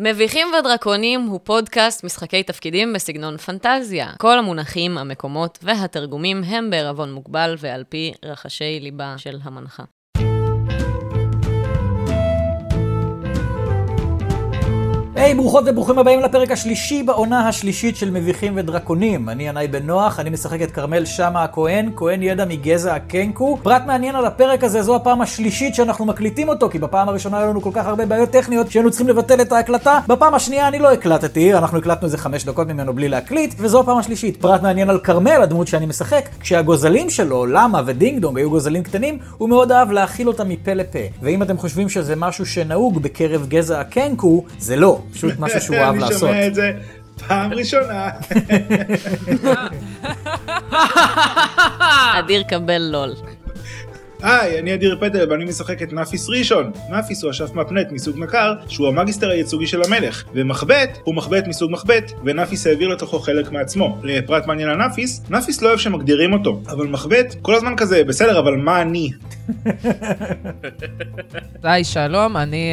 מביכים ודרקונים הוא פודקאסט משחקי תפקידים בסגנון פנטזיה. כל המונחים, המקומות והתרגומים הם בערבון מוגבל ועל פי רחשי ליבה של המנחה. היי, hey, ברוכות וברוכים הבאים לפרק השלישי בעונה השלישית של מביכים ודרקונים. אני ינאי בן נוח, אני משחק את כרמל שאמה הכהן, כהן ידע מגזע הקנקו. פרט מעניין על הפרק הזה, זו הפעם השלישית שאנחנו מקליטים אותו, כי בפעם הראשונה היו לנו כל כך הרבה בעיות טכניות שהיינו צריכים לבטל את ההקלטה. בפעם השנייה אני לא הקלטתי, אנחנו הקלטנו איזה חמש דקות ממנו בלי להקליט, וזו הפעם השלישית. פרט מעניין על כרמל, הדמות שאני משחק, כשהגוזלים שלו, למה ודינג דונג היו גוזלים קטנים, הוא מאוד אהב להאכיל אותם מפה לפה. ואם אתם חושבים שזה משהו שנהוג בקרב גזע הקנקו, זה לא. פשוט משהו שהוא אהב לעשות. אני שומע את זה פעם ראשונה. אדיר קבל לול. היי, אני אדיר פטל ואני משחק את נאפיס ראשון. נאפיס הוא אשף מפנט מסוג נקר, שהוא המגיסטר הייצוגי של המלך, ומחבט הוא מחבט מסוג מחבט, ונאפיס העביר לתוכו חלק מעצמו. לפרט מעניין על נאפיס, נאפיס לא אוהב שמגדירים אותו, אבל מחבט כל הזמן כזה, בסדר, אבל מה אני? היי, שלום, אני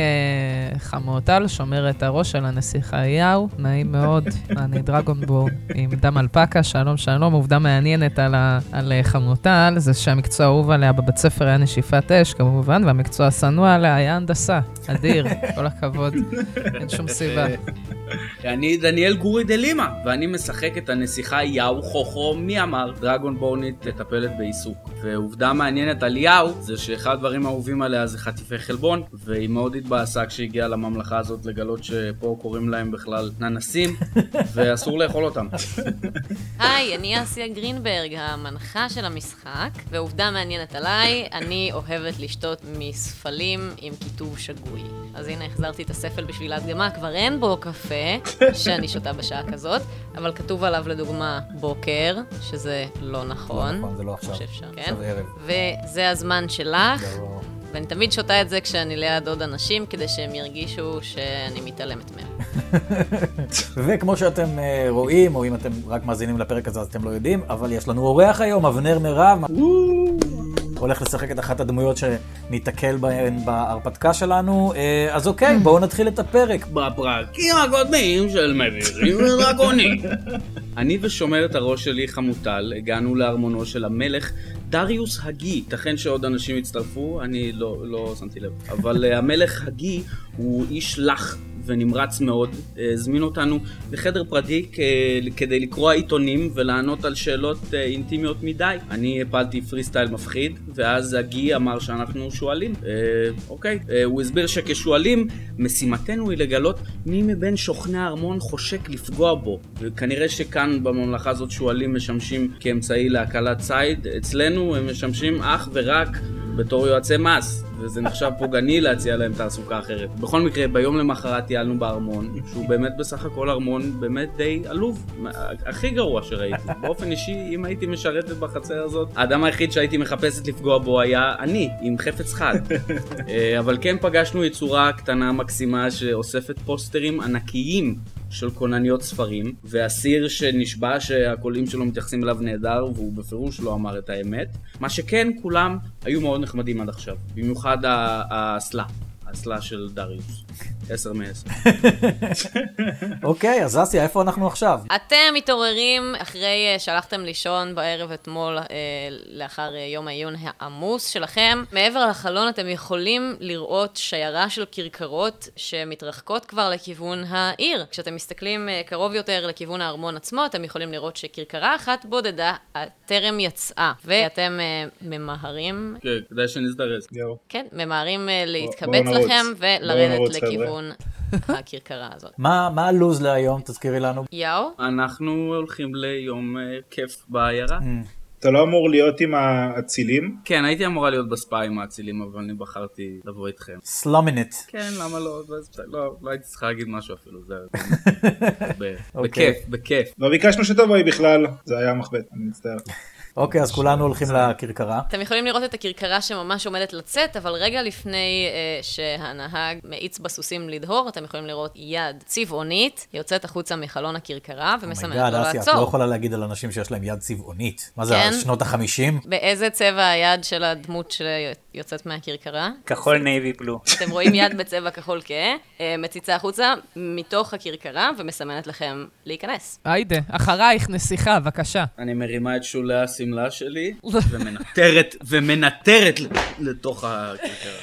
אה, חמוטל, שומר את הראש של הנסיך אליהו, נעים מאוד, אני דרגונבורד עם דם אלפקה, שלום שלום, עובדה מעניינת על, ה- על אה, חמוטל, זה שהמקצוע האהוב עליה בבית ספר היה נשיפת אש, כמובן, והמקצוע השנוא עליה היה הנדסה, אדיר, כל הכבוד, אין שום סיבה. אני דניאל גורי דה לימה, ואני משחק את הנסיכה יאו חוכו, מי אמר? דרגון בורנית מטפלת בעיסוק. ועובדה מעניינת על יאו, זה שאחד הדברים האהובים עליה זה חטיפי חלבון, והיא מאוד התבאסה כשהגיעה לממלכה הזאת לגלות שפה קוראים להם בכלל ננסים, ואסור לאכול אותם. היי, אני אסיה גרינברג, המנחה של המשחק, ועובדה מעניינת עליי, אני אוהבת לשתות מספלים עם כיתוב שגוי. אז הנה, החזרתי את הספל בשביל ההדגמה, כבר אין בו קפה שאני שותה בשעה כזאת, אבל כתוב עליו לדוגמה בוקר, שזה לא לא נכון. נכון, זה לא עכשיו. כמו שאפשר, כן. עכשיו ערב. וזה הזמן שלך, זה לא- ואני תמיד שותה את זה כשאני ליד עוד אנשים, כדי שהם ירגישו שאני מתעלמת מהם. וכמו שאתם אה, רואים, או אם אתם רק מאזינים לפרק הזה אז אתם לא יודעים, אבל יש לנו אורח היום, אבנר מירב, הולך לשחק את אחת הדמויות שניתקל בהן בהרפתקה שלנו. אה, אז אוקיי, בואו נתחיל את הפרק. בפרקים הקודמים של מבירים ודרקונים. אני ושומרת הראש שלי חמוטל הגענו לארמונו של המלך דריוס הגי, ייתכן שעוד אנשים יצטרפו, אני לא, לא שמתי לב, אבל אה, המלך הגי הוא איש לח ונמרץ מאוד, אה, הזמין אותנו לחדר פרטי אה, כדי לקרוא עיתונים ולענות על שאלות אה, אינטימיות מדי. אני הפלתי פרי סטייל מפחיד, ואז הגי אמר שאנחנו שועלים. אה, אוקיי. אה, הוא הסביר שכשועלים, משימתנו היא לגלות מי מבין שוכני הארמון חושק לפגוע בו. וכנראה שכאן בממלכה הזאת שועלים משמשים כאמצעי להקלת ציד, אצלנו הם משמשים אך ורק בתור יועצי מס, וזה נחשב פוגעני להציע להם תעסוקה אחרת. בכל מקרה, ביום למחרת טיילנו בארמון, שהוא באמת בסך הכל ארמון באמת די עלוב, מה- הכי גרוע שראיתי. באופן אישי, אם הייתי משרתת בחצר הזאת, האדם היחיד שהייתי מחפשת לפגוע בו היה אני, עם חפץ חד. אה, אבל כן פגשנו יצורה קטנה מקסימה שאוספת פוסטרים ענקיים של כונניות ספרים, ואסיר שנשבע שהקולעים שלו מתייחסים אליו נהדר, והוא בפירוש לא אמר את האמת. מה שכן, כולם היו מאוד נחמדים עד עכשיו. במיוחד ה- האסלה, האסלה של דריוס. עשר מעשר. אוקיי, אז אסיה, איפה אנחנו עכשיו? אתם מתעוררים אחרי אה, שהלכתם לישון בערב אתמול, אה, לאחר אה, יום העיון העמוס שלכם. מעבר לחלון אתם יכולים לראות שיירה של כרכרות שמתרחקות כבר לכיוון העיר. כשאתם מסתכלים אה, קרוב יותר לכיוון הארמון עצמו, אתם יכולים לראות שכרכרה אחת בודדה אה, טרם יצאה, ואתם אה, ממהרים כן, כדאי שנזדרז. יואו. כן, ממהרים אה, להתקבץ בואו נרוץ. לכם ולרדת נרוץ, חבר'ה. לכיוון הכרכרה הזאת. מה מה הלו"ז להיום? תזכירי לנו. יאו, אנחנו הולכים ליום אה, כיף בעיירה. אתה לא אמור להיות עם האצילים? כן, הייתי אמורה להיות בספא עם האצילים, אבל אני בחרתי לבוא איתכם. סלאמינט. כן, למה לא? אז לא, לא הייתי צריכה להגיד משהו אפילו, זה... ב- אוקיי. בכיף, בכיף. לא ביקשנו שתבואי בכלל. זה היה המחבט, אני מצטער. אוקיי, אז כולנו הולכים לכרכרה. אתם יכולים לראות את הכרכרה שממש עומדת לצאת, אבל רגע לפני אה, שהנהג מאיץ בסוסים לדהור, אתם יכולים לראות יד צבעונית יוצאת החוצה מחלון הכרכרה ומסמנת אומייגאד, לא אסי, את לא לעצור. יכולה להגיד על אנשים שיש להם יד צבעונית. מה זה, כן. שנות החמישים? באיזה צבע היד של הדמות שיוצאת מהכרכרה? כחול נייבי בלו. אתם רואים יד בצבע כחול כהה, אה, מציצה החוצה מתוך הכרכרה ומסמנת לכם להיכנס. היידה, אחרייך נסיכה, בבקשה. אני מרימה את שולי השמלה שלי ומנטרת, ומנטרת ל- לתוך הכיכר.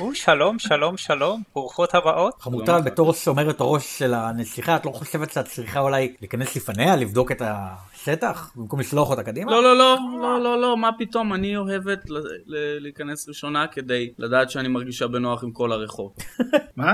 או, שלום, שלום, שלום, ברוכות הבאות. חמוטל, בתור שומרת הראש של הנסיכה, את לא חושבת שאת צריכה אולי להיכנס לפניה, לבדוק את השטח, במקום לשלוח אותה קדימה? לא, לא, לא, לא, לא, לא, מה פתאום, אני אוהבת ל- ל- להיכנס ראשונה כדי לדעת שאני מרגישה בנוח עם כל הרחוב. מה?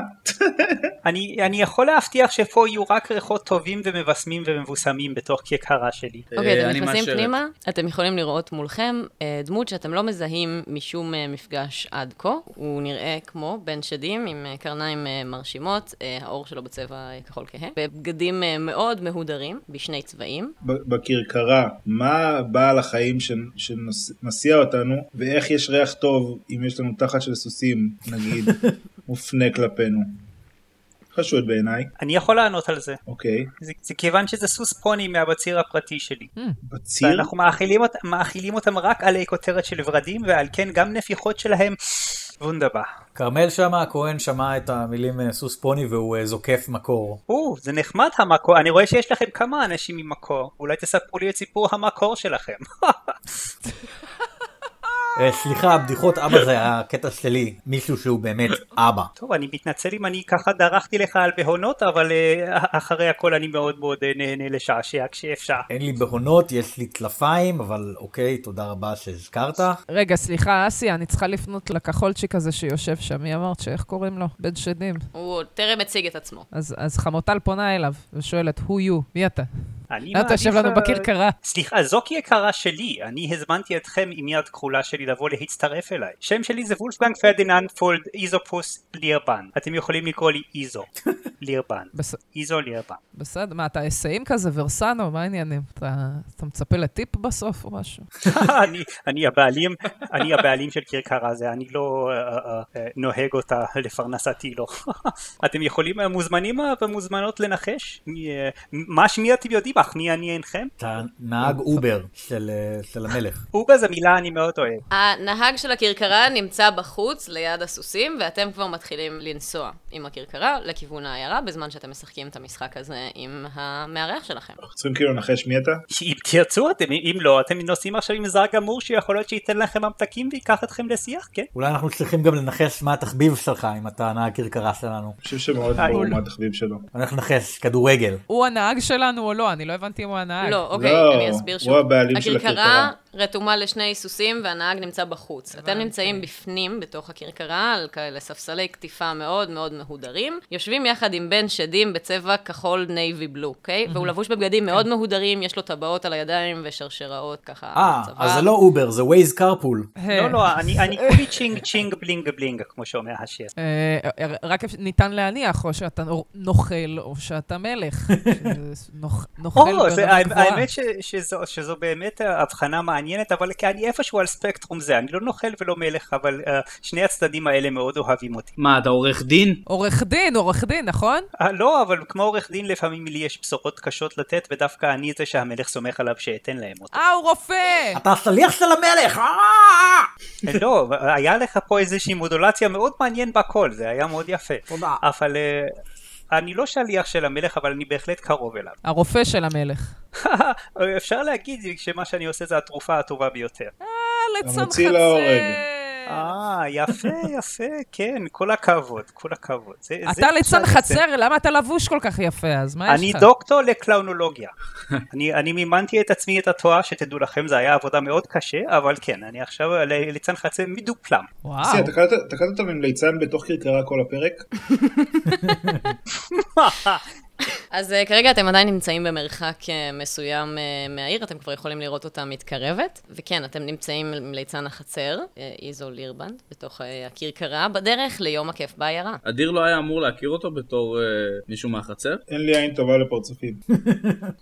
אני אני יכול להבטיח שפה יהיו רק ריחות טובים ומבשמים ומבוסמים בתוך כיכרה שלי. אוקיי, אתם אה, אני נכנסים מאשרת. פנימה, אתם יכולים לראות מולכם אה, דמות שאתם לא מזהים משום אה, מפגש עד כה. הוא נראה כמו בן שדים עם אה, קרניים אה, מרשימות, אה, העור שלו בצבע אה, כחול כהה, בבגדים אה, מאוד מהודרים, בשני צבעים. ב- בכרכרה, מה בעל החיים שנ- שמסיע אותנו, ואיך יש ריח טוב אם יש לנו תחת של סוסים, נגיד, מופנה כלפינו. חשוד בעיניי, אני יכול לענות על זה. אוקיי. זה, זה כיוון שזה סוס פוני מהבציר הפרטי שלי. בציר? ואנחנו מאכילים, אות, מאכילים אותם רק עלי כותרת של ורדים, ועל כן גם נפיחות שלהם וונדבה. כרמל שאמה הכהן שמע את המילים אה, סוס פוני והוא אה, זוקף מקור. או, זה נחמד המקור, אני רואה שיש לכם כמה אנשים עם מקור, אולי תספרו לי את סיפור המקור שלכם. אה, סליחה, בדיחות אבא זה הקטע שלי, מישהו שהוא באמת אבא. טוב, אני מתנצל אם אני ככה דרכתי לך על בהונות, אבל אה, אחרי הכל אני מאוד מאוד אה, נהנה לשעשע כשאפשר. אין לי בהונות, יש לי טלפיים, אבל אוקיי, תודה רבה שהזכרת. רגע, סליחה, אסי, אני צריכה לפנות לכחולצ'יק הזה שיושב שם. מי אמרת שאיך קוראים לו? בן שדים. הוא עוד טרם הציג את עצמו. אז, אז חמוטל פונה אליו ושואלת, who you? מי אתה? אני למה אתה יושב לנו מעדיף, אה, בכרכרה? סליחה, זוקי יקרה שלי, אני הזמנתי אתכם עם יד כחולה שלי לבוא להצטרף אליי. שם שלי זה וולפגנג פרדיננד פולד איזופוס לירבן. אתם יכולים לקרוא לי איזו לירבן. בס... איזו לירבן. בסדר, מה, אתה אסאים כזה, ורסנו? מה העניינים? אתה, אתה מצפה לטיפ בסוף או משהו? אני- אני הבעלים, אני הבעלים של כרכרה זה, אני לא אה, אה, אה, נוהג אותה לפרנסתי, לא. אתם יכולים, אה, מוזמנים אה, ומוזמנות לנחש? מי, אה, מה שמי אתם יודעים אך מי אני אינכם? אתה נהג אובר של אה, של המלך. אובה זו מילה אני מאוד אוהב. הנהג של הכרכרה נמצא בחוץ ליד הסוסים, ואתם כבר מתחילים לנסוע עם הכרכרה לכיוון העיירה, בזמן שאתם משחקים את המשחק הזה עם המארח שלכם. אנחנו צריכים כאילו לנחש מי אתה? אם תרצו אתם, אם לא, אתם נוסעים עכשיו עם זר גמור שיכול להיות שייתן לכם ממתקים ויקח אתכם לשיח, כן? אולי אנחנו צריכים גם לנחש מה התחביב שלך, אם אתה נהג כרכרה שלנו. אני חושב שמאוד אה, ברור מה התחביב שלו. אני הולך לנחש, כדורגל. הוא הנהג שלנו או לא? אני לא הבנתי אם הוא הנהג. לא, אוקיי, לא, אני אסביר הוא שוב. הבעלים של הכרכרה הכרכרה. רתומה לשני סוסים והנהג נמצא בחוץ. אתם נמצאים בפנים, בתוך הכרכרה, על כאלה ספסלי קטיפה מאוד מאוד מהודרים. יושבים יחד עם בן שדים בצבע כחול נייבי בלו, אוקיי? והוא לבוש בבגדים מאוד כן. מהודרים, יש לו טבעות על הידיים ושרשראות ככה אה, על הצוואר. אז זה לא אובר, זה ווייז קרפול. היי. לא, לא, אני אני כולי צ'ינג צ'ינג בלינג בלינג, כמו שאומר השיר. אה, אה, רק אפ- ניתן להניח, או שאתה נו- נוכל, או שאתה מלך. שזה נוכ- נוכל או, זה- ברמה האמת גבוהה. האמת ש- שזו- שזו באמת אה, הבחנה מעניינת, אבל כי אני איפשהו על ספקטרום זה, אני לא נוכל ולא מלך, אבל אה, שני הצדדים האלה מאוד אוהבים אותי. מה, אתה עורך דין? עורך דין, עורך דין, נכון? אה, לא, אבל כמו עורך דין לפעמים לי יש בשורות קשות לתת, ודווקא אני זה שהמלך סומך עליו שאתן להם אותה. אה, הוא רופא! אתה השליח של המלך! אה! לא, היה לך פה איזושהי מודולציה מאוד מעניין בקול, זה היה מאוד יפה. תודה. אבל אה, אני לא שליח של המלך, אבל אני בהחלט קרוב אליו. הרופא של המלך. אפשר להגיד שמה שאני עושה זה התרופה הטובה ביותר. אה, ליצן המוציא חצר. להורג. אה, יפה, יפה, כן, כל הכבוד, כל הכבוד. זה- זה אתה ליצן עכשיו זה. חצר, למה אתה לבוש כל כך יפה? אז מה יש אני לך? דוקטור לקלאונולוגיה. אני, אני מימנתי את עצמי את התואר, שתדעו לכם, זה היה עבודה מאוד קשה, אבל כן, אני עכשיו ל- ליצן חצר מדופלם. וואו. בסדר, תקעת- תקעת אותם עם ליצן בתוך כרכרה כל הפרק? אז אה, כרגע אתם עדיין נמצאים במרחק אה, מסוים אה, מהעיר, אתם כבר יכולים לראות אותה מתקרבת. וכן, אתם נמצאים עם ליצן החצר, אה, איזו לירבנד, בתוך אה, הכרכרה, בדרך ליום הכיף בעיירה. אדיר לא היה אמור להכיר אותו בתור אה, מישהו מהחצר? אין לי עין טובה לפרצופים.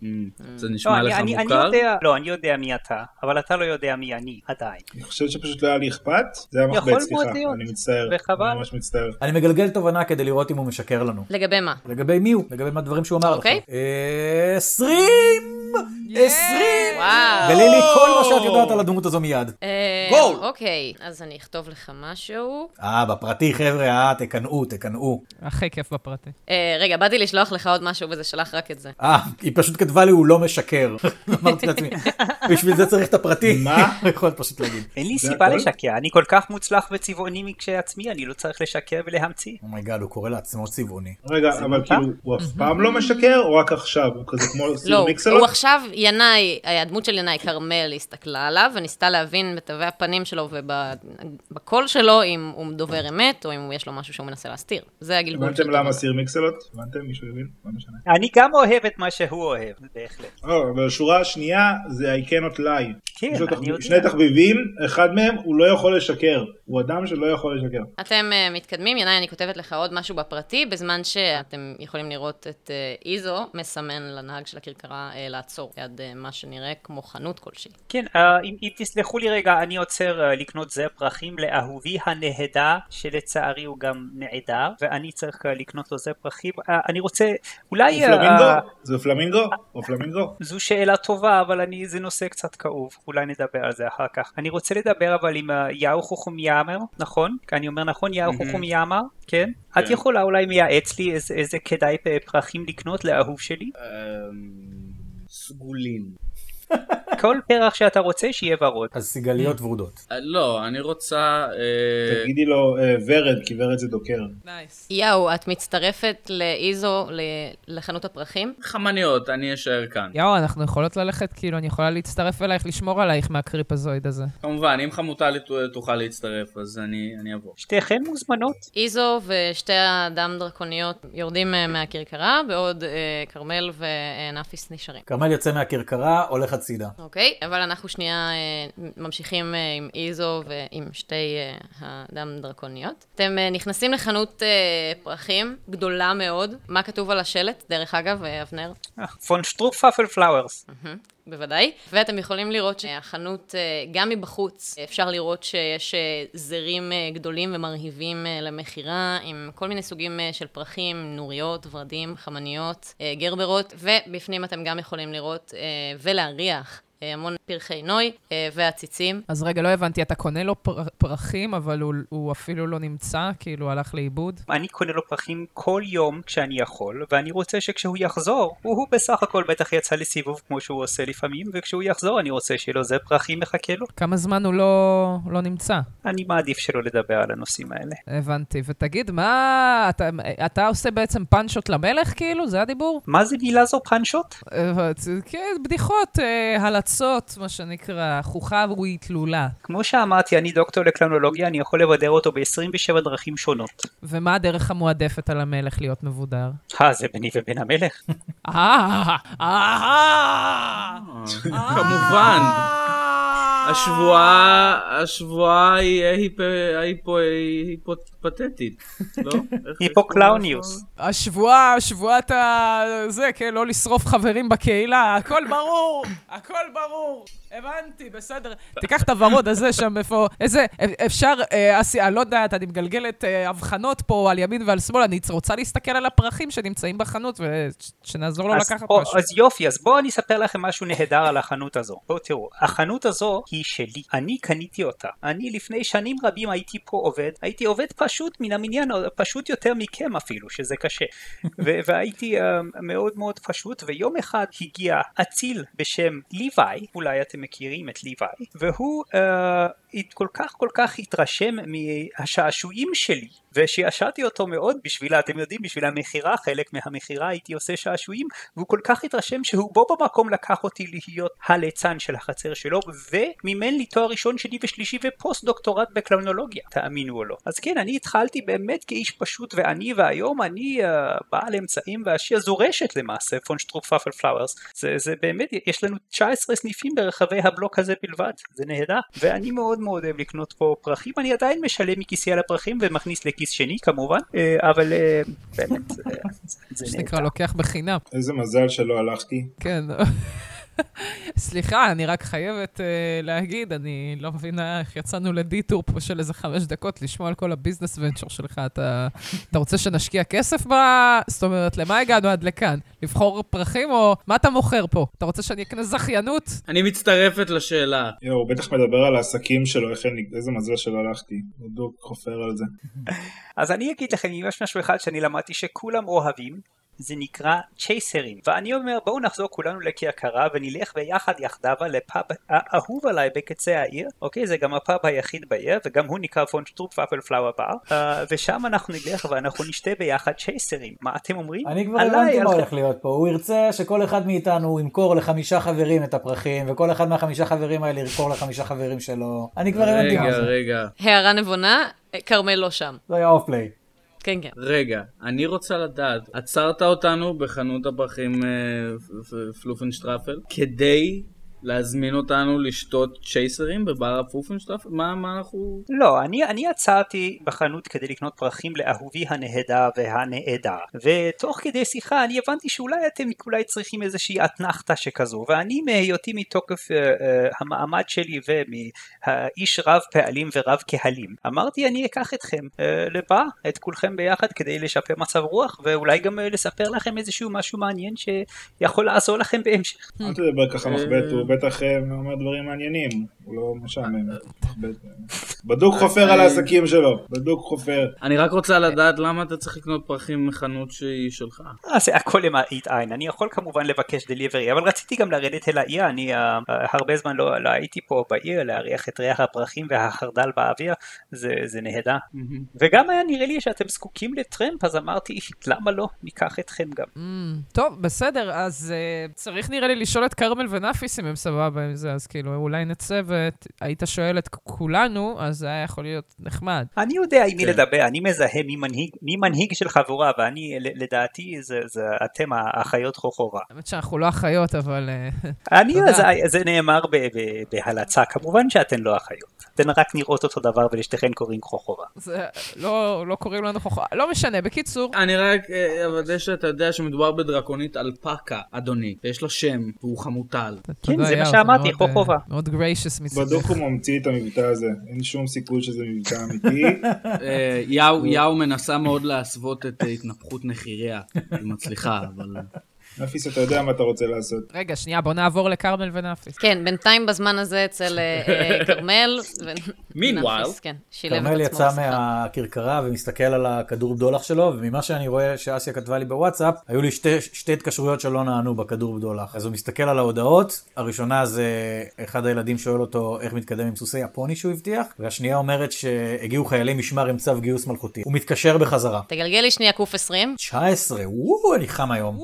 אמ, זה לא, נשמע אני, לך אני, אני מוכר? יודע, לא, אני יודע מי אתה, אבל אתה לא יודע מי אני, עדיין. אני חושב שפשוט לא היה לי אכפת, זה היה יכול מחבט, מאוד סליחה. להיות, אני מצטער, וחבל. אני ממש מצטער. אני מגלגל תובנה כדי לראות אם הוא משקר לנו. לגבי מה? לגבי מי הוא? לגבי מה הדברים שהוא אמר לך. אוקיי. אה, עשרים! עשרים! וואו. גלילי, כל מה שאת יודעת על הדמות הזו מיד. אה, גול! אוקיי, אז אני אכתוב לך משהו. אה, בפרטי, חבר'ה, אה, תקנאו, תקנאו. הכי כיף בפרטי. אה, רגע, באתי לשלוח לך עוד משהו וזה שלח רק את זה. אה, היא פשוט כתבה לי, הוא לא משקר. אמרתי לעצמי, בשביל זה צריך את הפרטי. מה? הוא יכול פשוט להגיד. אין לי זה סיבה הכל? לשקר, אני כל כך מוצלח וצבעוני מכשעצמי, אני לא צריך לשקר ולהמציא. אומייגאד, הוא קורא לעצמו צבעוני. רגע, אבל מותר? כאילו, הוא אף פעם לא משקר, או רק עכשיו? הוא כזה כמו לא, סיר הוא מיקסלוט? עכשיו, ינאי, הדמות של ינאי כרמל הסתכלה עליו וניסתה להבין בתווי הפנים שלו ובקול שלו אם הוא דובר אמת או אם יש לו משהו שהוא מנסה להסתיר. זה הגלגול הבנתם של למה תווי. סיר מיקסלוט? הבנתם? מישהו הבין? לא משנה. אני גם אוהב את מה שהוא אוהב, בהחלט. אה, אבל השורה השנייה זה I cannot lie. כן, יש לו תחב- אני יודע. שני תחביבים, אחד מהם הוא לא יכול לשקר. הוא אדם שלא יכול לשקר. אתם אה, מתקדמים, ינאי, אני כותבת לך עוד משהו בפרטי, בזמן שאתם יכולים לראות את אה, איזו מסמן לנהג של הכרכרה אה, לעצור ליד אה, מה שנראה כמו חנות כלשהי. כן, אה, אם אם תסלחו לי רגע, אני עוצר אה, לקנות זר פרחים לאהובי הנהדר, שלצערי הוא גם נעדר, ואני צריך אה, לקנות לו זר פרחים. אה, אני רוצה, אולי... הוא אה, פלמינגו? זה פלמינגו? הוא פלמינגו. זו שאלה טובה, אבל אני, זה נושא קצת כאוב, אולי נדבר על זה אחר כך. אני רוצה לדבר אבל עם אה, יאו חוכומיאמר, נכון? אני אומר נכון, יאו חוכומיאמר, כן? את כן. יכולה אולי מייעץ לי איזה, איזה כדאי פ- פרחים לקנות לאהוב שלי? אמ, סגולין. כל פרח שאתה רוצה שיהיה ורוד. אז סיגליות ורודות. אה, לא, אני רוצה... אה, תגידי לו אה, ורד, כי ורד זה דוקר. נייס. יאו, את מצטרפת לאיזו ל- לחנות הפרחים? חמניות, אני אשאר כאן. יאו, אנחנו יכולות ללכת, כאילו, אני יכולה להצטרף אלייך, לשמור עלייך מהקריפזויד הזה. כמובן, אם חמותה לת- תוכל להצטרף, אז אני אני אבוא. שתיכן מוזמנות. איזו ושתי הדם דרקוניות יורדים אה, מהכרכרה, בעוד אה, כרמל ונאפיס נשארים. כרמל יוצא מהכרכרה, הולך הצידה. אוקיי, אבל אנחנו שנייה אה, ממשיכים אה, עם איזו ועם שתי אה, הדם דרקוניות. אתם אה, נכנסים לחנות אה, פרחים גדולה מאוד. מה כתוב על השלט, דרך אגב, אה, אבנר? אה, פון שטרופפל פלאוורס. בוודאי. ואתם יכולים לראות שהחנות, אה, גם מבחוץ, אפשר לראות שיש אה, זרים אה, גדולים ומרהיבים אה, למכירה, עם כל מיני סוגים אה, של פרחים, נוריות, ורדים, חמניות, אה, גרברות, ובפנים אתם גם יכולים לראות אה, ולהריח. אה, המון פרחי נוי אה, ועציצים. אז רגע, לא הבנתי, אתה קונה לו פר- פרחים, אבל הוא- הוא אפילו לא נמצא, כאילו, הלך לאיבוד? אני קונה לו פרחים כל יום כשאני יכול, ואני רוצה שכשהוא יחזור, הוא הוא בסך הכל בטח יצא לסיבוב כמו שהוא עושה לפעמים, וכשהוא יחזור אני רוצה שיהיה לו זר פרחים מחכה לו. כמה זמן הוא לא, לא נמצא? אני מעדיף שלא לדבר על הנושאים האלה. הבנתי. ותגיד, מה, אתה, אתה עושה בעצם פאנשות למלך, כאילו? זה הדיבור? מה זה מילה זו פאנשות? אה, זה- כן, בדיחות, אה, הלצות, מה שנקרא, חוכה והיא תלולה. כמו שאמרתי, אני דוקטור לקלנולוגיה, אני יכול לבדר אותו ב-27 דרכים שונות. ומה הדרך המועדפת על המלך להיות מבודר? אה, זה ביני ובין המלך. אה, אה, כמובן. השבועה, השבועה היא ההיפ- ההיפו- ההיפותטית, לא? איך- היפוקלאוניוס. השבועה, שבועת ה... זה, כן, לא לשרוף חברים בקהילה, הכל ברור, הכל ברור. הבנתי, בסדר. תיקח את הוורוד הזה שם, איפה... איזה... אפ- אפשר... אה, אסי, אני לא יודעת, אני מגלגלת אה, הבחנות פה על ימין ועל שמאל, אני רוצה להסתכל על הפרחים שנמצאים בחנות ושנעזור לו אז, לקחת או, משהו. אז יופי, אז בואו אני אספר לכם משהו נהדר על החנות הזו. בואו תראו, החנות הזו היא שלי, אני קניתי אותה. אני לפני שנים רבים הייתי פה עובד, הייתי עובד פשוט מן המניין, או פשוט יותר מכם אפילו, שזה קשה. ו- והייתי אה, מאוד מאוד פשוט, ויום אחד הגיע אציל בשם ליוואי, אולי אתם מכירים את ליוואי, והוא אה, הת- כל כך כל כך התרשם מהשעשועים שלי. ושעשעתי אותו מאוד בשבילה, אתם יודעים, בשביל המכירה, חלק מהמכירה הייתי עושה שעשועים, והוא כל כך התרשם שהוא בו במקום לקח אותי להיות הליצן של החצר שלו, ומימן לי תואר ראשון, שני ושלישי ופוסט דוקטורט בקלמנולוגיה, תאמינו או לא. אז כן, אני התחלתי באמת כאיש פשוט ועני, והיום אני uh, בעל אמצעים ועשיר, זו רשת למעשה, פון שטרוק פאפל פלאוורס. זה, זה באמת, יש לנו 19 סניפים ברחבי הבלוק הזה בלבד, זה נהדר. ואני מאוד מאוד אוהב לקנות פה פרחים, אני עדיין משלם מכיסי על הפרחים ומכניס לכיס שני כמובן, אה, אבל אה, באמת, זה- זה מה שנקרא, נהדר. לוקח בחינם. איזה מזל שלא הלכתי. כן. סליחה, אני רק חייבת אה, להגיד, אני לא מבינה איך יצאנו לדיטור פה של איזה חמש דקות לשמוע על כל הביזנס ונצ'ר שלך. אתה, אתה רוצה שנשקיע כסף ב... זאת אומרת, למה הגענו עד לכאן? לבחור פרחים או מה אתה מוכר פה? אתה רוצה שאני אקנה זכיינות? אני מצטרפת לשאלה. יואו, אה, הוא בטח מדבר על העסקים שלו, איך אני... איזה מזל שלא הלכתי. בדיוק חופר על זה. אז אני אגיד לכם, אם יש משהו אחד שאני למדתי שכולם אוהבים, זה נקרא צ'ייסרים. ואני אומר, בואו נחזור כולנו לכיכרה ונלך ביחד יחדיו לפאב האהוב עליי בקצה העיר, אוקיי? זה גם הפאב היחיד בעיר, וגם הוא נקרא פון שטרופ ואפל פלאואר בר, אה, ושם אנחנו נלך ואנחנו נשתה ביחד צ'ייסרים. מה אתם אומרים? אני כבר עליי, הבנתי מה על- הולך להיות פה, הוא ירצה שכל אחד מאיתנו ימכור לחמישה חברים את הפרחים, וכל אחד מהחמישה חברים האלה ימכור לחמישה חברים שלו. אני כבר הבנתי מה רגע, זה. רגע, הערה נבונה, אה, כרמל לא שם. זה היה אוף פליי. כן, כן. רגע, אני רוצה לדעת, עצרת אותנו בחנות הפרחים אה, פ- פ- פלופנשטרפל כדי להזמין אותנו לשתות צ'ייסרים בבר הפלופנשטרפל? מה מה אנחנו... לא, אני, אני עצרתי בחנות כדי לקנות פרחים לאהובי הנהדר והנעדר, ותוך כדי שיחה אני הבנתי שאולי אתם אולי צריכים איזושהי אתנחתה שכזו, ואני מהיותי מתוקף uh, uh, המעמד שלי ומהאיש רב פעלים ורב קהלים, אמרתי אני אקח אתכם uh, לבר, את כולכם ביחד כדי לשפר מצב רוח, ואולי גם אה, לספר לכם איזשהו משהו מעניין שיכול לעזור לכם בהמשך. אל תדבר ככה מחבט, הוא בטח אה, אומר דברים מעניינים. הוא לא משעמם. מחבט, אה. בדוק חופר על העסקים שלו. בדוק חופר. אני רק רוצה לדעת למה אתה צריך לקנות פרחים מחנות שהיא שלך. אה, זה הכל למראית עין, אני יכול כמובן לבקש דליברי, אבל רציתי גם לרדת אל העיר, אני אה, אה, הרבה זמן לא, לא הייתי פה בעיר, להריח את ריח הפרחים והחרדל באוויר, זה, זה נהדר. וגם היה נראה לי שאתם זקוקים לטרמפ, אז אמרתי, למה לא, ניקח אתכם גם. אמ, טוב, בסדר, אז uh, צריך נראה לי לשאול את כרמל ונאפיס אם הם סבבה עם זה, אז כאילו, אולי נצא והיית שואל את כולנו, אז זה היה יכול להיות נחמד. אני יודע עם מי כן. לדבר, אני מזהה מי מנהיג, מי מנהיג של חבורה, ואני, ל- לדעתי, זה, זה אתם האחיות חוכורה. האמת שאנחנו לא אחיות, אבל... אה, אני, תודה. זה, זה נאמר ב, ב, בהלצה, כמובן שאתן לא אחיות. אתן רק נראות אותו דבר ולשתיכן קוראים חוכורה. זה לא, לא קוראים לנו חוכמה, לא משנה, בקיצור, אני רק אה, אוודא שאתה יודע שמדובר בדרקונית אלפקה, אדוני, ויש לה שם, והוא חמוטל. תודה, זה מה יאו, שאמרתי, מאוד, חוק אה, חובה. מאוד גריישס בדוק מצדך. הוא ממציא את המבטא הזה. אין שום סיכוי שזה מבטא אמיתי. אה, יאו יאו מנסה מאוד להסוות את אה, התנפחות נחיריה, היא מצליחה, אבל... נפיס, אתה יודע מה אתה רוצה לעשות. רגע, שנייה, בוא נעבור לכרמל ונאפיס. כן, בינתיים בזמן הזה אצל אה, אה, כרמל. ו- Meanwhile. נפיס, כן, שילב את כרמל עצמו יצא בשיחה. מהכרכרה ומסתכל על הכדור בדולח שלו, וממה שאני רואה שאסיה כתבה לי בוואטסאפ, היו לי שתי, שתי התקשרויות שלא נענו בכדור בדולח. אז הוא מסתכל על ההודעות, הראשונה זה אחד הילדים שואל אותו איך מתקדם עם סוסי הפוני שהוא הבטיח, והשנייה אומרת שהגיעו חיילי משמר עם צו גיוס מלכותי. הוא מתקשר בחזרה. תגלגל לי שנייה קוף 20. 19, וואו, אני חם היום.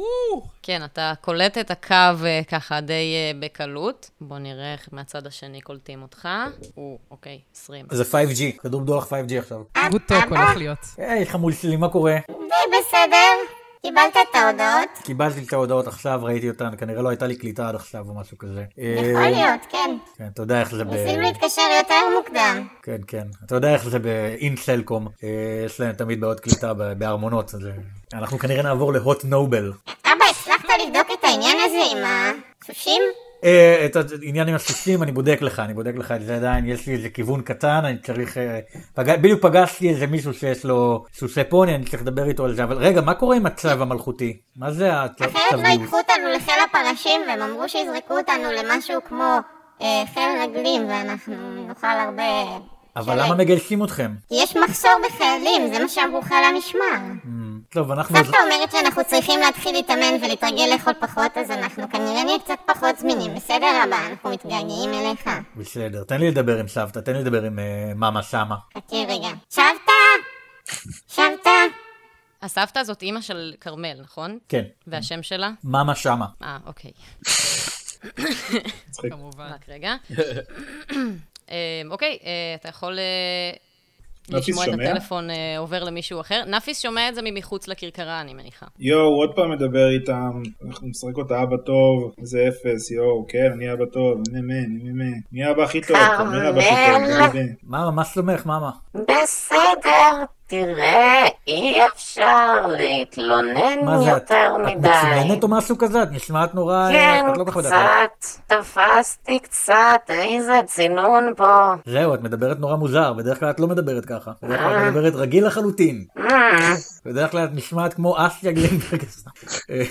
כן, אתה קולט את הקו אה, ככה די אה, בקלות. בוא נראה איך מהצד השני קולטים אותך. או, אוקיי, 20. זה 5G, כדור בדולח 5G עכשיו. גוד טוק הולך להיות. היי, חמול שלי, מה קורה? די בסדר, קיבלת את ההודעות? קיבלתי את ההודעות עכשיו, ראיתי אותן, כנראה לא הייתה לי קליטה עד עכשיו או משהו כזה. יכול להיות, כן. כן, אתה יודע איך זה ב... ניסינו להתקשר יותר מוקדם. כן, כן. אתה יודע איך זה באינסלקום, אה, יש להם תמיד בעיות קליטה ב- בארמונות, אז אה, אנחנו כנראה נעבור להוט נובל. אבא, הצלחת לבדוק את העניין הזה עם הסושים? אה, את העניין עם הסוסים אני בודק לך, אני בודק לך את זה עדיין, יש לי איזה כיוון קטן, אני צריך... אה, פג... בדיוק פגשתי איזה מישהו שיש לו סוסי פוני, אני צריך לדבר איתו על זה, אבל רגע, מה קורה עם הצלב המלכותי? מה זה הצלב? אחרת לא ייקחו אותנו לחיל הפרשים, והם אמרו שיזרקו אותנו למשהו כמו אה, חיל רגלים, ואנחנו נאכל הרבה... אבל שלג. למה מגייסים אתכם? כי יש מחסור בחיילים, זה מה שאמרו חיל המשמר. טוב, אנחנו... סבתא אומרת שאנחנו צריכים להתחיל להתאמן ולהתרגל לאכול פחות, אז אנחנו כנראה נהיה קצת פחות זמינים. בסדר, אבא, אנחנו מתגעגעים אליך. בסדר, תן לי לדבר עם סבתא, תן לי לדבר עם אה, מאמא סמה. חכי רגע. שבתא? שבתא? הסבתא הזאת אימא של כרמל, נכון? כן. והשם שלה? מאמה שמה. אה, אוקיי. כמובן. רק רגע. אה, אוקיי, אה, אתה יכול אה, נפיס לשמוע את שומע? הטלפון אה, עובר למישהו אחר. נפיס שומע את זה ממחוץ לכרכרה, אני מניחה. יואו, עוד פעם מדבר איתם, אנחנו נשחק אותה אבא טוב, זה אפס, יואו, כן, אני אבא טוב, אני מה, אני מה, מי האבא הכי טוב, כרמל אבא הכי טוב, אני יודע. מאמה, מה שלומך, מאמה? בסדר, תראה, אי אפשר להתלונן מה זה, את יותר את מדי. מצוינת או משהו כזה? את נשמעת נורא... כן, אה, את לא כל כך מדברת. קצת, תפסתי קצת, איזה צינון פה. זהו, את מדברת נורא מוזר, בדרך כלל את לא מדברת ככה. בדרך כלל את מדברת רגיל לחלוטין. אה, בדרך כלל את נשמעת כמו אסיה גלינברג. אה,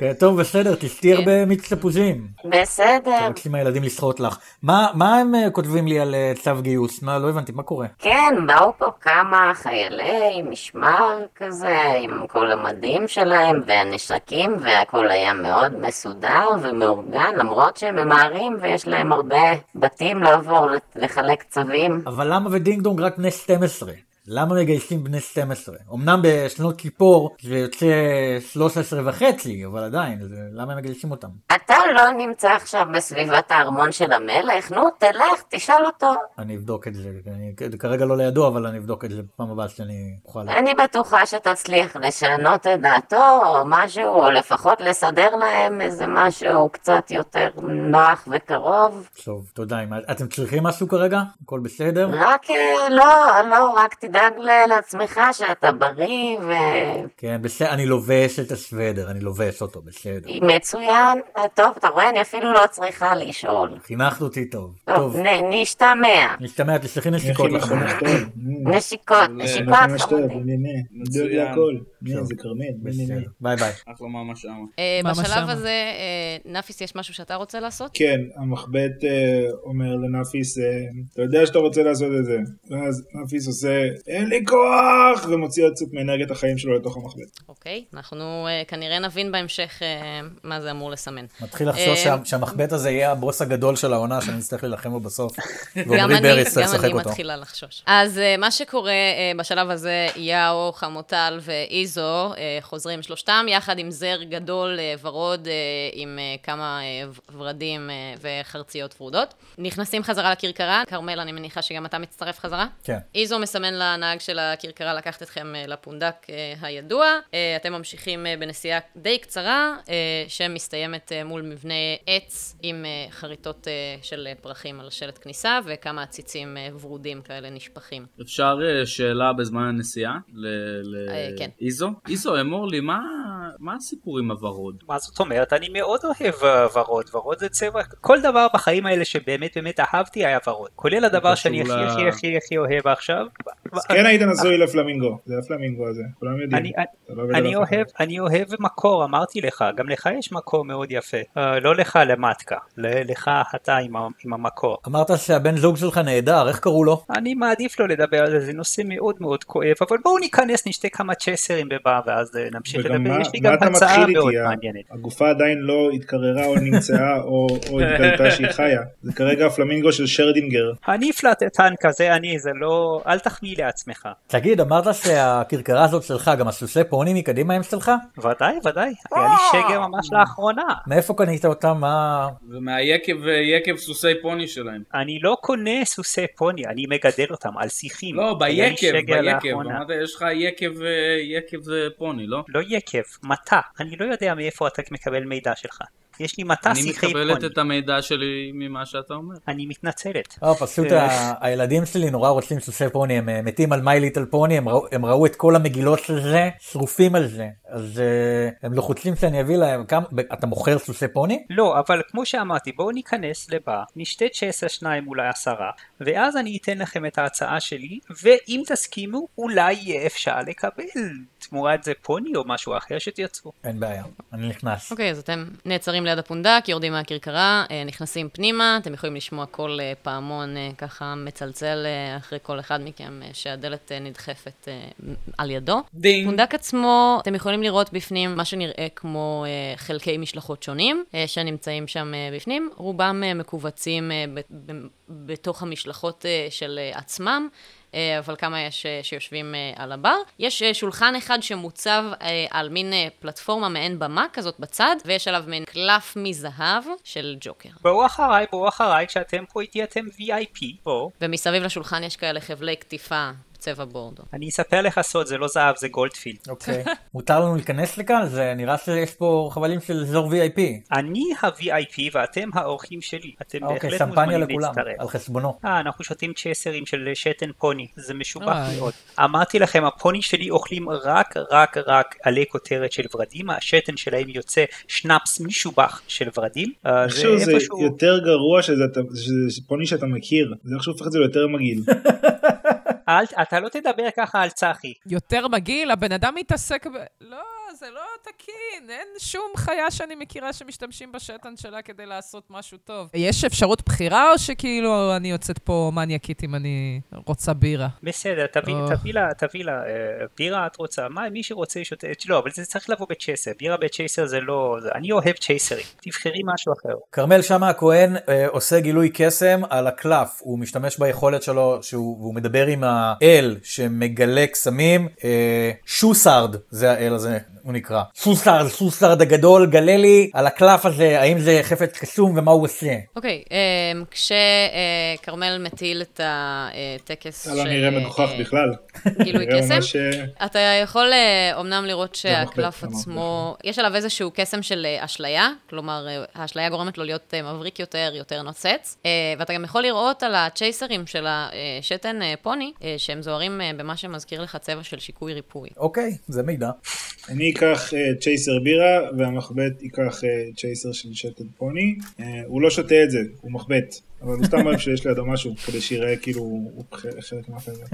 כן, טוב, בסדר, תשתי הרבה מיץ תפוזים. כן. בסדר, מבקשים מהילדים לשחות לך. מה מה הם אה, כותבים לי על אה, צו גיוס? מה, לא הבנתי, מה קורה? כן, באו פה כמה חיילי משמר כזה, עם כל המדים שלהם והנשקים, והכל היה מאוד מסודר ומאורגן, למרות שהם ממהרים ויש להם הרבה בתים לעבור לחלק צווים. אבל למה ודינג דונג רק בני 12? למה מגייסים בני 12? אמנם בשנות כיפור זה יוצא 13 וחצי, אבל עדיין, זה- למה הם מגייסים אותם? אתה לא נמצא עכשיו בסביבת הארמון של המלך? נו, תלך, תשאל אותו. אני אבדוק את זה, אני כ- כרגע לא לידו, אבל אני אבדוק את זה פעם הבאה שאני אוכל... אני בטוחה שתצליח לשנות את דעתו או משהו, או לפחות לסדר להם איזה משהו קצת יותר נוח וקרוב. טוב, תודה. אם- אתם צריכים משהו כרגע? הכל בסדר? רק, אה, לא, לא, רק תדאג ל- לעצמך שאתה בריא ו... כן, בסדר, אני לובש את הסוודר, אני לובש אותו, בסדר. מצוין. אה, טוב, אתה רואה, אני אפילו לא צריכה לשאול. חינכת אותי טוב. טוב, טוב, נ- נשתמע. נשתמע, תשלחי איך נשיקות היא לך. מחנך טוב, נכון נו, נשיקות, אנחנו נשיקות, ממש טוב, חמודי. אני מה, נדבר לי מצוין. הכל, מי זה כרמל, מי מי מי. בסדר, ביי ביי. אחלה ממש אמה. אה, ממש בשלב שמה. הזה, אה, נפיס, יש משהו שאתה רוצה לעשות? כן, המחבט אה, אומר לנפיס, אה, אתה יודע שאתה רוצה לעשות את זה. ואז נפיס עושה, אין לי כוח! ומוציא עוד קצת מאנרגיית החיים שלו לתוך המחבט. אוקיי. אנחנו אה, כנראה נבין בהמשך אה, מה זה אמור לסמן. מתחיל לחשוש אה, שה- שהמחבט הזה יהיה הבוס הגדול של העונה שאני אצטרך להילחם בו בסוף. גם ועמרי אני- בריס צריך גם לשחק אני אותו. מתחילה לחשוש. אז אה, מה שקורה אה, בשלב הזה, יאו, חמוטל ואיזו אה, חוזרים שלושתם, יחד עם זר גדול אה, ורוד אה, עם אה, כמה אה, ו- ורדים אה, וחרציות ורודות. נכנסים חזרה לכרכרה, כרמל, אני מניחה שגם אתה מצטרף חזרה. כן. איזו מסמן לנהג של הכרכרה לקחת אתכם אה, לפונדק אה, הידוע. אה, אתם ממשיכים אה, בנסיעה די קצרה, אה, שמסתיימת אה, מול מבנה עץ עם אה, חריטות אה, של אה, פרחים על שלט כניסה, וכמה עציצים אה, ורודים כאלה נשפכים. אפשר אה, שאלה בזמן הנסיעה? ל- אה, ל- כן. איזו? איזו, אמור לי, מה- מה הסיפור עם הוורוד? מה זאת אומרת? אני מאוד אוהב אה, ורוד, ורוד זה צבע, כל דבר בחיים האלה שבאמת באמת אהבתי היה ורוד, כולל הדבר קשור שאני הכי ל- הכי הכי הכי אוהב עכשיו. אז כן היית נשוי לפלמינגו, זה הפלמינגו הזה, כולם יודעים. אני- אתה לא עובד על אני אף אחד. אוהב, אני אוהב מקור, אמרתי לך, גם לך יש מקור מאוד יפה. אה, לא לך למטקה, ל- לך אתה עם ה- עם המקור. אמרת שהבן זוג שלך נהדר, איך קראו לו? אני מעדיף לא לדבר על זה, זה נושא מאוד מאוד כואב, אבל בואו ניכנס, נשתה כמה צ'סרים בבא, ואז אה, נמשיך וגם לדבר. מה- יש לי מה גם אתה הצעה מתחיל מאוד איתי? אה? ה- מעניינת. הגופה עדיין לא התקררה או נמצאה או או התגלתה שהיא חיה. זה כרגע הפלמינגו של שרדינגר. אני פלטטן כזה, אני, זה לא... אל תחמיא לעצמך. תגיד, אמרת שהכרכרה הזאת שלך, גם הסוסי פונים מקדימה הם שלך? ודאי, ודאי. היה לי שגר ממש לאחרונה. מאיפה קנית אותם? מה... ומהיקב אה, יקב סוסי פוני שלהם. אני לא קונה סוסי פוני, אני מגדל אותם על שיחים. לא, היה לי ביקב, שגר ביקב. לאחרונה. אמרת, יש לך יקב, אה, יקב אה, פוני, לא? לא יקב, מטע. אני לא יודע מאיפה אתה מקבל מידע שלך. יש לי מטע אני שיחי מקבלת פוני. את המידע שלי ממה שאתה אומר. אני מתנצלת. לא, פשוט אה. ה- הילדים שלי נורא רוצים סוסי פוני, הם אה, מתים על מיי ליטל פוני, הם ראו- הם ראו את כל המגילות של זה, שרופים על זה. אז אה, הם לוחצים שאני אביא להם כמה... ב- אתה מוכר סוסי פוני? לא, אבל כמו שאמרתי, בואו ניכנס לבר, נשתה 19, שניים אולי עשרה, ואז אני אתן לכם את ההצעה שלי, ואם תסכימו, אולי יהיה אפשר לקבל תמורת זה פוני או משהו אחר שתייצרו. אין בעיה, אני נכנס. אוקיי, אז אתם נעצרים ליד הפונדק, יורדים מהכרכרה, אה, נכנסים פנימה, אתם יכולים לשמוע כל אה, פעמון אה, ככה מצלצל אה, אחרי כל אחד מכם, אה, שהדלת אה, נדחפת אה, על ידו. דינג. הפונדק עצמו, אתם יכולים לראות בפנים מה שנראה כמו אה, חלקי משלחות שונים אה, שנמצאים שם אה, בפנים. רובם אה, מכווצים אה, ב- ב- בתוך המשלחות אה, של אה, עצמם. אה, אבל כמה יש אה, שיושבים אה, על הבר. יש אה, שולחן אחד שמוצב אה, על מין אה, פלטפורמה מעין במה כזאת בצד, ויש עליו מין קלף מזהב של ג'וקר. בואו אחריי, בואו אחריי, כשאתם פה איתי אתם VIP, בואו. ומסביב לשולחן יש כאלה חבלי קטיפה בצבע בורדו. אני אספר לך סוד, זה לא זהב, זה גולדפילד. אוקיי. מותר לנו להיכנס לכאן? זה נראה שיש פה חבלים של אזור VIP. אני ה-VIP ואתם האורחים שלי. אתם אוקיי, בהחלט שמפניה מוזמנים לכולם, להצטרף. על חשבונו. אה, אנחנו שותים צ'סרים של שתן פוני, זה משובח אוי. מאוד. אמרתי לכם, הפוני שלי אוכלים רק, רק, רק עלי כותרת של ורדים, השתן שלהם יוצא שנאפס משובח של ורדים. אה, זה איכשהו זה איפשהו... יותר גרוע שזה שזה- שזה פוני שאתה מכיר, זה איכשהו הופך את זה ליותר מגעיל. אל, אתה לא תדבר ככה על צחי. יותר מגעיל, הבן אדם מתעסק ב... לא, זה לא תקין, אין שום חיה שאני מכירה שמשתמשים בשתן שלה כדי לעשות משהו טוב. יש אפשרות בחירה, או שכאילו אני יוצאת פה מניאקית אם אני רוצה בירה? בסדר, תביא, אה. תביא לה, תביא לה, אה, בירה את רוצה, מה, מי שרוצה שותה, לא, אבל זה צריך לבוא בצ'ייסר, בירה בצ'ייסר זה לא, זה, אני אוהב צ'ייסרים, תבחרי משהו אחר. כרמל שאמה הכהן אה, עושה גילוי קסם על הקלף, הוא משתמש ביכולת שלו, שהוא, והוא מדבר עם האל שמגלה קסמים, אה, שוסרד, זה האל הזה, הוא נקרא. שוסרד, שוסרד הגדול, גלה לי על הקלף הזה, האם זה חפץ קסום ומה הוא עושה. אוקיי, אמ, כשכרמל מטיל את הטקס זה לא נראה מגוחך אה, בכלל. כאילו גילוי נראה ממש, קסם? אה, אתה יכול אה, אומנם לראות שהקלף לא, לא, לא. עצמו, יש עליו איזשהו קסם של אה, אשליה, כלומר, אה, האשליה גורמת לו להיות אה, מבריק יותר, יותר נוצץ, אה, ואתה גם יכול לראות על הצ'ייסרים של השתן אה, פוני, אה, שהם זוהרים אה, במה שמזכיר לך צבע של שיקוי ריפוי. אוקיי, זה מידע. אני אקח אה, צ'ייסר בירה והמחבט ייקח אה, צ'ייסר של שתן פוני. אה, הוא לא שותה את זה, הוא מחבט. אבל הוא סתם אוהב שיש לידו משהו כדי שיראה כאילו הוא ח- חלק מהחבר'ה.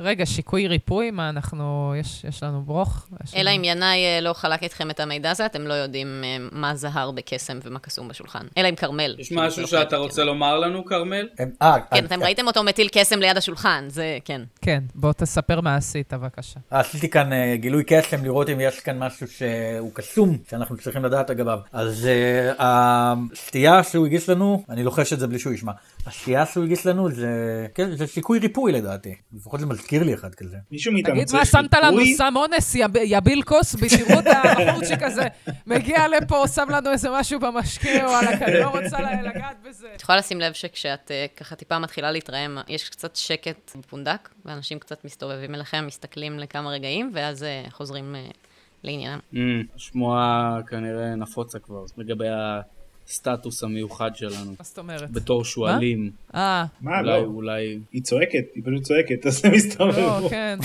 רגע, שיקוי ריפוי? מה, אנחנו... יש, יש לנו ברוך? יש אלא לנו- אם ינאי אה, לא חלק איתכם את המידע הזה, אתם לא יודעים אה, מה זהר בקסם ומה קסום בשולחן. אלא אם כרמל. יש כאילו, משהו זה לא חלק, שאתה רוצה כן. לומר לנו, כרמל? הם- אה, כן, אה, אתם אה, ראיתם אותו מטיל קסם ליד השולחן, זה כן. כן, בוא תספר מה עשית, בבקשה. אה, עשיתי כאן אה, גילוי קסם לראות אם יש כאן משהו שהוא קסום שאנחנו צריכים לדעת לגביו. אז אה, השתייה שהוא הגיש לנו, אני לוחש את זה בלי שהוא ישמע, השתייה שהוא הגיש לנו זה, כן, זה שיקוי ריפוי לדעתי. לפחות זה מזכיר לי אחד כזה. מישהו מאיתנו תגיד מה שמת לנו סם אונס, יב- יביל קוסבי, תראו את הבחורצ'יק הזה, מגיע לפה, שם לנו איזה משהו במשקה, וואלכ, אני לא רוצה ל- לגעת בזה. את יכולה לשים לב שכשאת אה, ככה טיפה מתחילה להתרעם, יש קצת שקט בפונדק, ואנשים קצת מסתובבים אליכם, מסתכלים לכמה רגעים, ואז אה, חוזרים אה, לעניינם. Mm, השמועה כנראה נפוצה כבר, לגבי הסטטוס המיוחד שלנו, מה זאת אומרת? בתור שועלים. אה, מה, אולי, לא. אולי... היא צועקת, היא פשוט צועקת, אז זה מסתובב. לא, כן.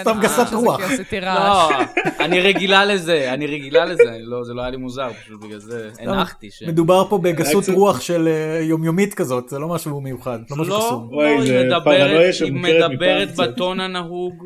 סתם גסת רוח. כי עשיתי רעש. לא, אני רגילה לזה, אני רגילה לזה, אני לא- זה לא היה לי מוזר, פשוט בגלל זה הנחתי ש... מדובר פה בגסות קצת- רוח של אה, יומיומית כזאת, זה לא משהו מיוחד, לא משהו לא, קסום. לא, וואי, היא זה פרנויה מדברת, היא שמוכרת מפעם מדברת קצת. בטון הנהוג,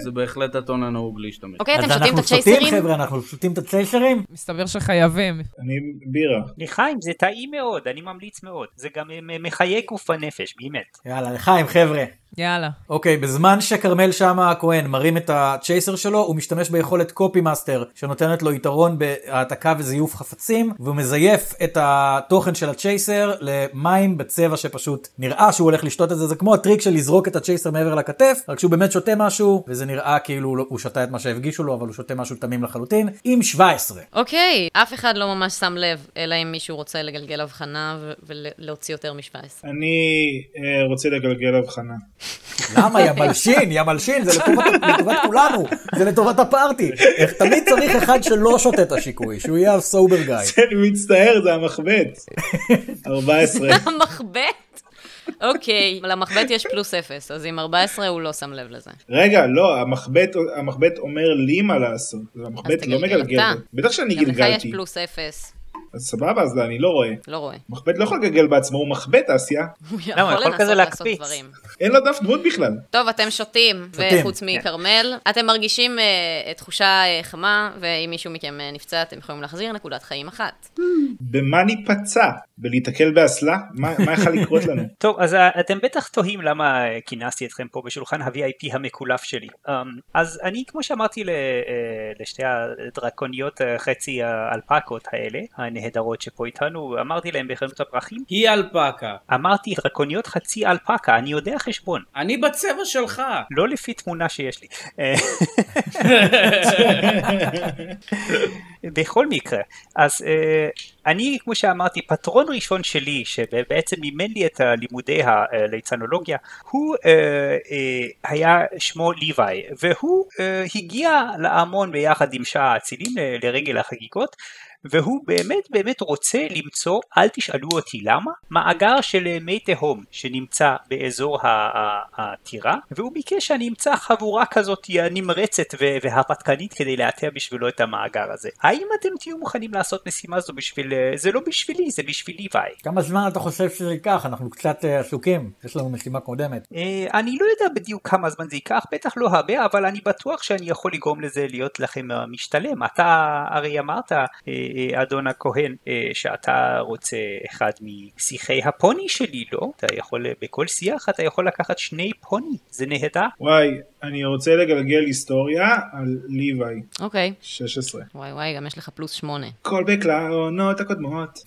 זה בהחלט הטון הנהוג להשתמש. אוקיי, אתם אז אנחנו שותים את שותים הצ'ייסרים? חבר'ה, אנחנו שותים את הצ'ייסרים? מסתבר שחייבים. אני בירה. לחיים, זה טעים מאוד, אני ממליץ מאוד, זה גם אה, מחיה גוף ונפש, באמת. יאללה, לחיים חבר'ה. יאללה. אוקיי, בזמן שכרמל שאמה הכהן מרים את הצ'ייסר שלו, הוא משתמש ביכולת קופי מאסטר, שנותנת לו יתרון בהעתקה וזיוף חפצים, והוא מזייף את התוכן של הצ'ייסר למים בצבע שפשוט נראה שהוא הולך לשתות את זה, זה כמו הטריק של לזרוק את הצ'ייסר מעבר לכתף, רק שהוא באמת שותה משהו, וזה נראה כאילו הוא- הוא שתה את מה שהפגישו לו, אבל הוא שותה משהו תמים לחלוטין, עם 17. אוקיי, אף אחד לא ממש שם לב, אלא אם מישהו רוצה לגלגל הבחנה ו- ולהוציא יותר מ-17. אני אה, רוצה לגלגל הבחנה. למה? יא מלשין, יא מלשין, זה לטובת, לטובת כולנו, זה לטובת הפארטי. איך- תמיד צריך אחד שלא שותה את השיקוי, שהוא יהיה הסובר גיא. אני מצטער, זה המחבט. 14. המחבט? אוקיי, למחבט יש פלוס אפס, אז עם 14 הוא לא שם לב לזה. רגע, לא, המחבט, המחבט אומר לי מה לעשות. המחבט לא תגלגל מגלגל. אתה. בטח שאני גם לך יש גלגלתי. פלוס אפס. אז סבבה, אז אני לא רואה. לא רואה. מחבט לא יכול לגלגל בעצמו, הוא מחבט אסיה. הוא הוא יכול כזה לעשות להקפיץ. דברים. אין לו דף דמות בכלל. טוב, אתם שותים, שותים. וחוץ מכרמל. אתם מרגישים אה, תחושה אה, חמה, ואם מישהו מכם אה, נפצע, אתם יכולים להחזיר נקודת חיים אחת. במה ניפצע? בלהיתקל באסלה? מה מה יכול לקרות לנו? טוב, אז אה, אתם בטח תוהים למה אה, כינסתי אתכם פה בשולחן ה-VIP המקולף שלי. אמ, אז אני, כמו שאמרתי ל- אה, לשתי הדרקוניות אה, חצי האלפקות האלה, הנהדרות שפה איתנו, אמרתי להם בחנות הפרחים, היא אלפקה. אמרתי דרקוניות חצי אלפקה, אני יודע חשבון, אני בצבע שלך. לא לפי תמונה שיש לי. אה, בכל מקרה, אז אה, אני, כמו שאמרתי, פטרון ראשון שלי, שבעצם מימן לי את לימודי הליצנולוגיה, הוא אה, אה, היה שמו ליוואי, והוא אה, הגיע לארמון ביחד עם שעה האצילים אה, לרגל החגיגות. והוא באמת באמת רוצה למצוא, אל תשאלו אותי למה, מאגר של מי תהום שנמצא באזור ה- ה- הטירה, והוא ביקש שאני אמצא חבורה כזאת נמרצת ו- והרפתקנית כדי לאתר בשבילו את המאגר הזה. האם אתם תהיו מוכנים לעשות משימה זו בשביל... זה לא בשבילי, זה בשביל ליוואי. כמה זמן אתה חושב שזה ייקח? אנחנו קצת אה, עסוקים, יש לנו משימה קודמת. אה, אני לא יודע בדיוק כמה זמן זה ייקח, בטח לא הרבה, אבל אני בטוח שאני יכול לגרום לזה להיות לכם אה, משתלם. אתה הרי אמרת, אה, אה, אדון הכהן, אה, שאתה רוצה אחד משיחי הפוני שלי, לא? אתה יכול, אה, בכל שיח אתה יכול לקחת שני פוני, זה נהדר. וואי, אני רוצה לגלגל היסטוריה על ליוואי, אוקיי. 16. וואי וואי, גם יש לך פלוס שמונה. כל בקלעונות הקודמות.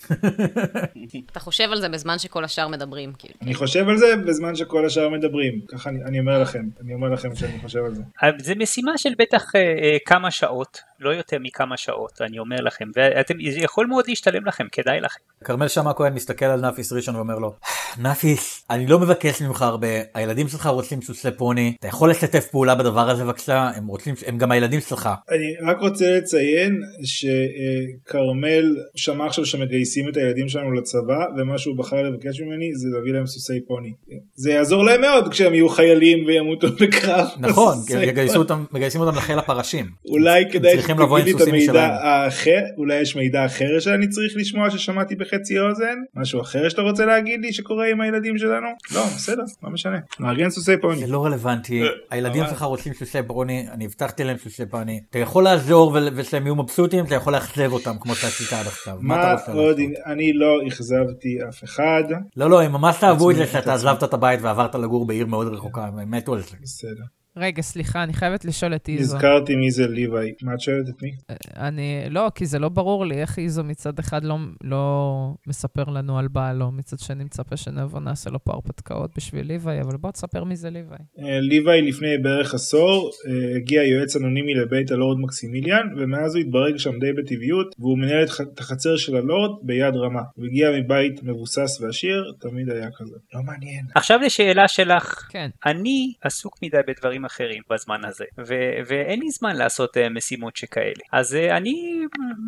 אתה חושב על זה בזמן שכל השאר מדברים, כאילו. אני חושב על זה בזמן שכל השאר מדברים. ככה אני, אני אומר לכם, אני אומר לכם שאני חושב על זה. אבל זה משימה של בטח אה, אה, כמה שעות, לא יותר מכמה שעות, אני אומר לכם, ואתם, זה יכול מאוד להשתלם לכם, כדאי לכם. כרמל שאמה הכהן מסתכל על נפיס ראשון ואומר לו, נפיס, אני לא מבקש ממך הרבה, הילדים שלך רוצים סוסי פוני, אתה יכול לשתף פעולה בדבר הזה בבקשה, הם רוצים, הם גם הילדים שלך. אני רק רוצה לציין שכרמל שמע עכשיו שמגייסים את הילדים שלנו לצבא, ומה שהוא בחר לבקש ממני זה להביא להם סוסי פוני. זה יעזור להם מאוד כשהם יהיו חיילים וימותו בקרב. נכון, סוסי כי הם יגייסו פוני. אותם, מגייסים אותם לחיל הפרשים. אולי כדאי צריכים לבוא עם שתגיד לי את סוסים המידע שלהם. האחר, אולי יש מידע אחר שאני צריך לשמוע ששמעתי בחצי אוזן? משהו אחר שאתה רוצה להגיד לי שקורה עם הילדים שלנו? לא, בסדר, לא משנה. מארגן סוסי פוני. זה לא אה, רלוונטי, הילדים אבל- שלך רוצים סוסי פוני, אני הבטחתי להם סוסי פוני. אתה יכול לעזור ול- ושהם יהיו מבסוטים, אתה יכול לאכזב אותם כמו שעשית עד עכשיו. מה אתה מה רוצה עוד, לעשות? אני לא אכזבתי אף אחד. לא, לא, הם ממש אהבו את זה עצמי, שאתה עצמי. עזבת את הבית ועברת לגור בעיר מאוד רחוקה, הם מתו על זה. בסדר. רגע, סליחה, אני חייבת לשאול את איזו. נזכרתי מי זה ליוואי. מה את שואלת את מי? אני, לא, כי זה לא ברור לי איך איזו מצד אחד לא, לא מספר לנו על בעלו, מצד שני מצפה שנבוא נעשה לו פה הרפתקאות בשביל ליוואי, אבל בוא תספר מי זה ליוואי. אה, ליוואי לפני בערך עשור אה, הגיע יועץ אנונימי לבית הלורד מקסימיליאן ומאז הוא התברג שם די בטבעיות והוא מנהל את ח- את החצר של הלורד ביד רמה. הוא הגיע מבית מבוסס ועשיר, תמיד היה כזה. לא מעניין. עכשיו לשאלה שלך, כן. אני עסוק מדי בדברים אחרים בזמן הזה, ו- ואין לי זמן לעשות אה, משימות שכאלה. אז אה, אני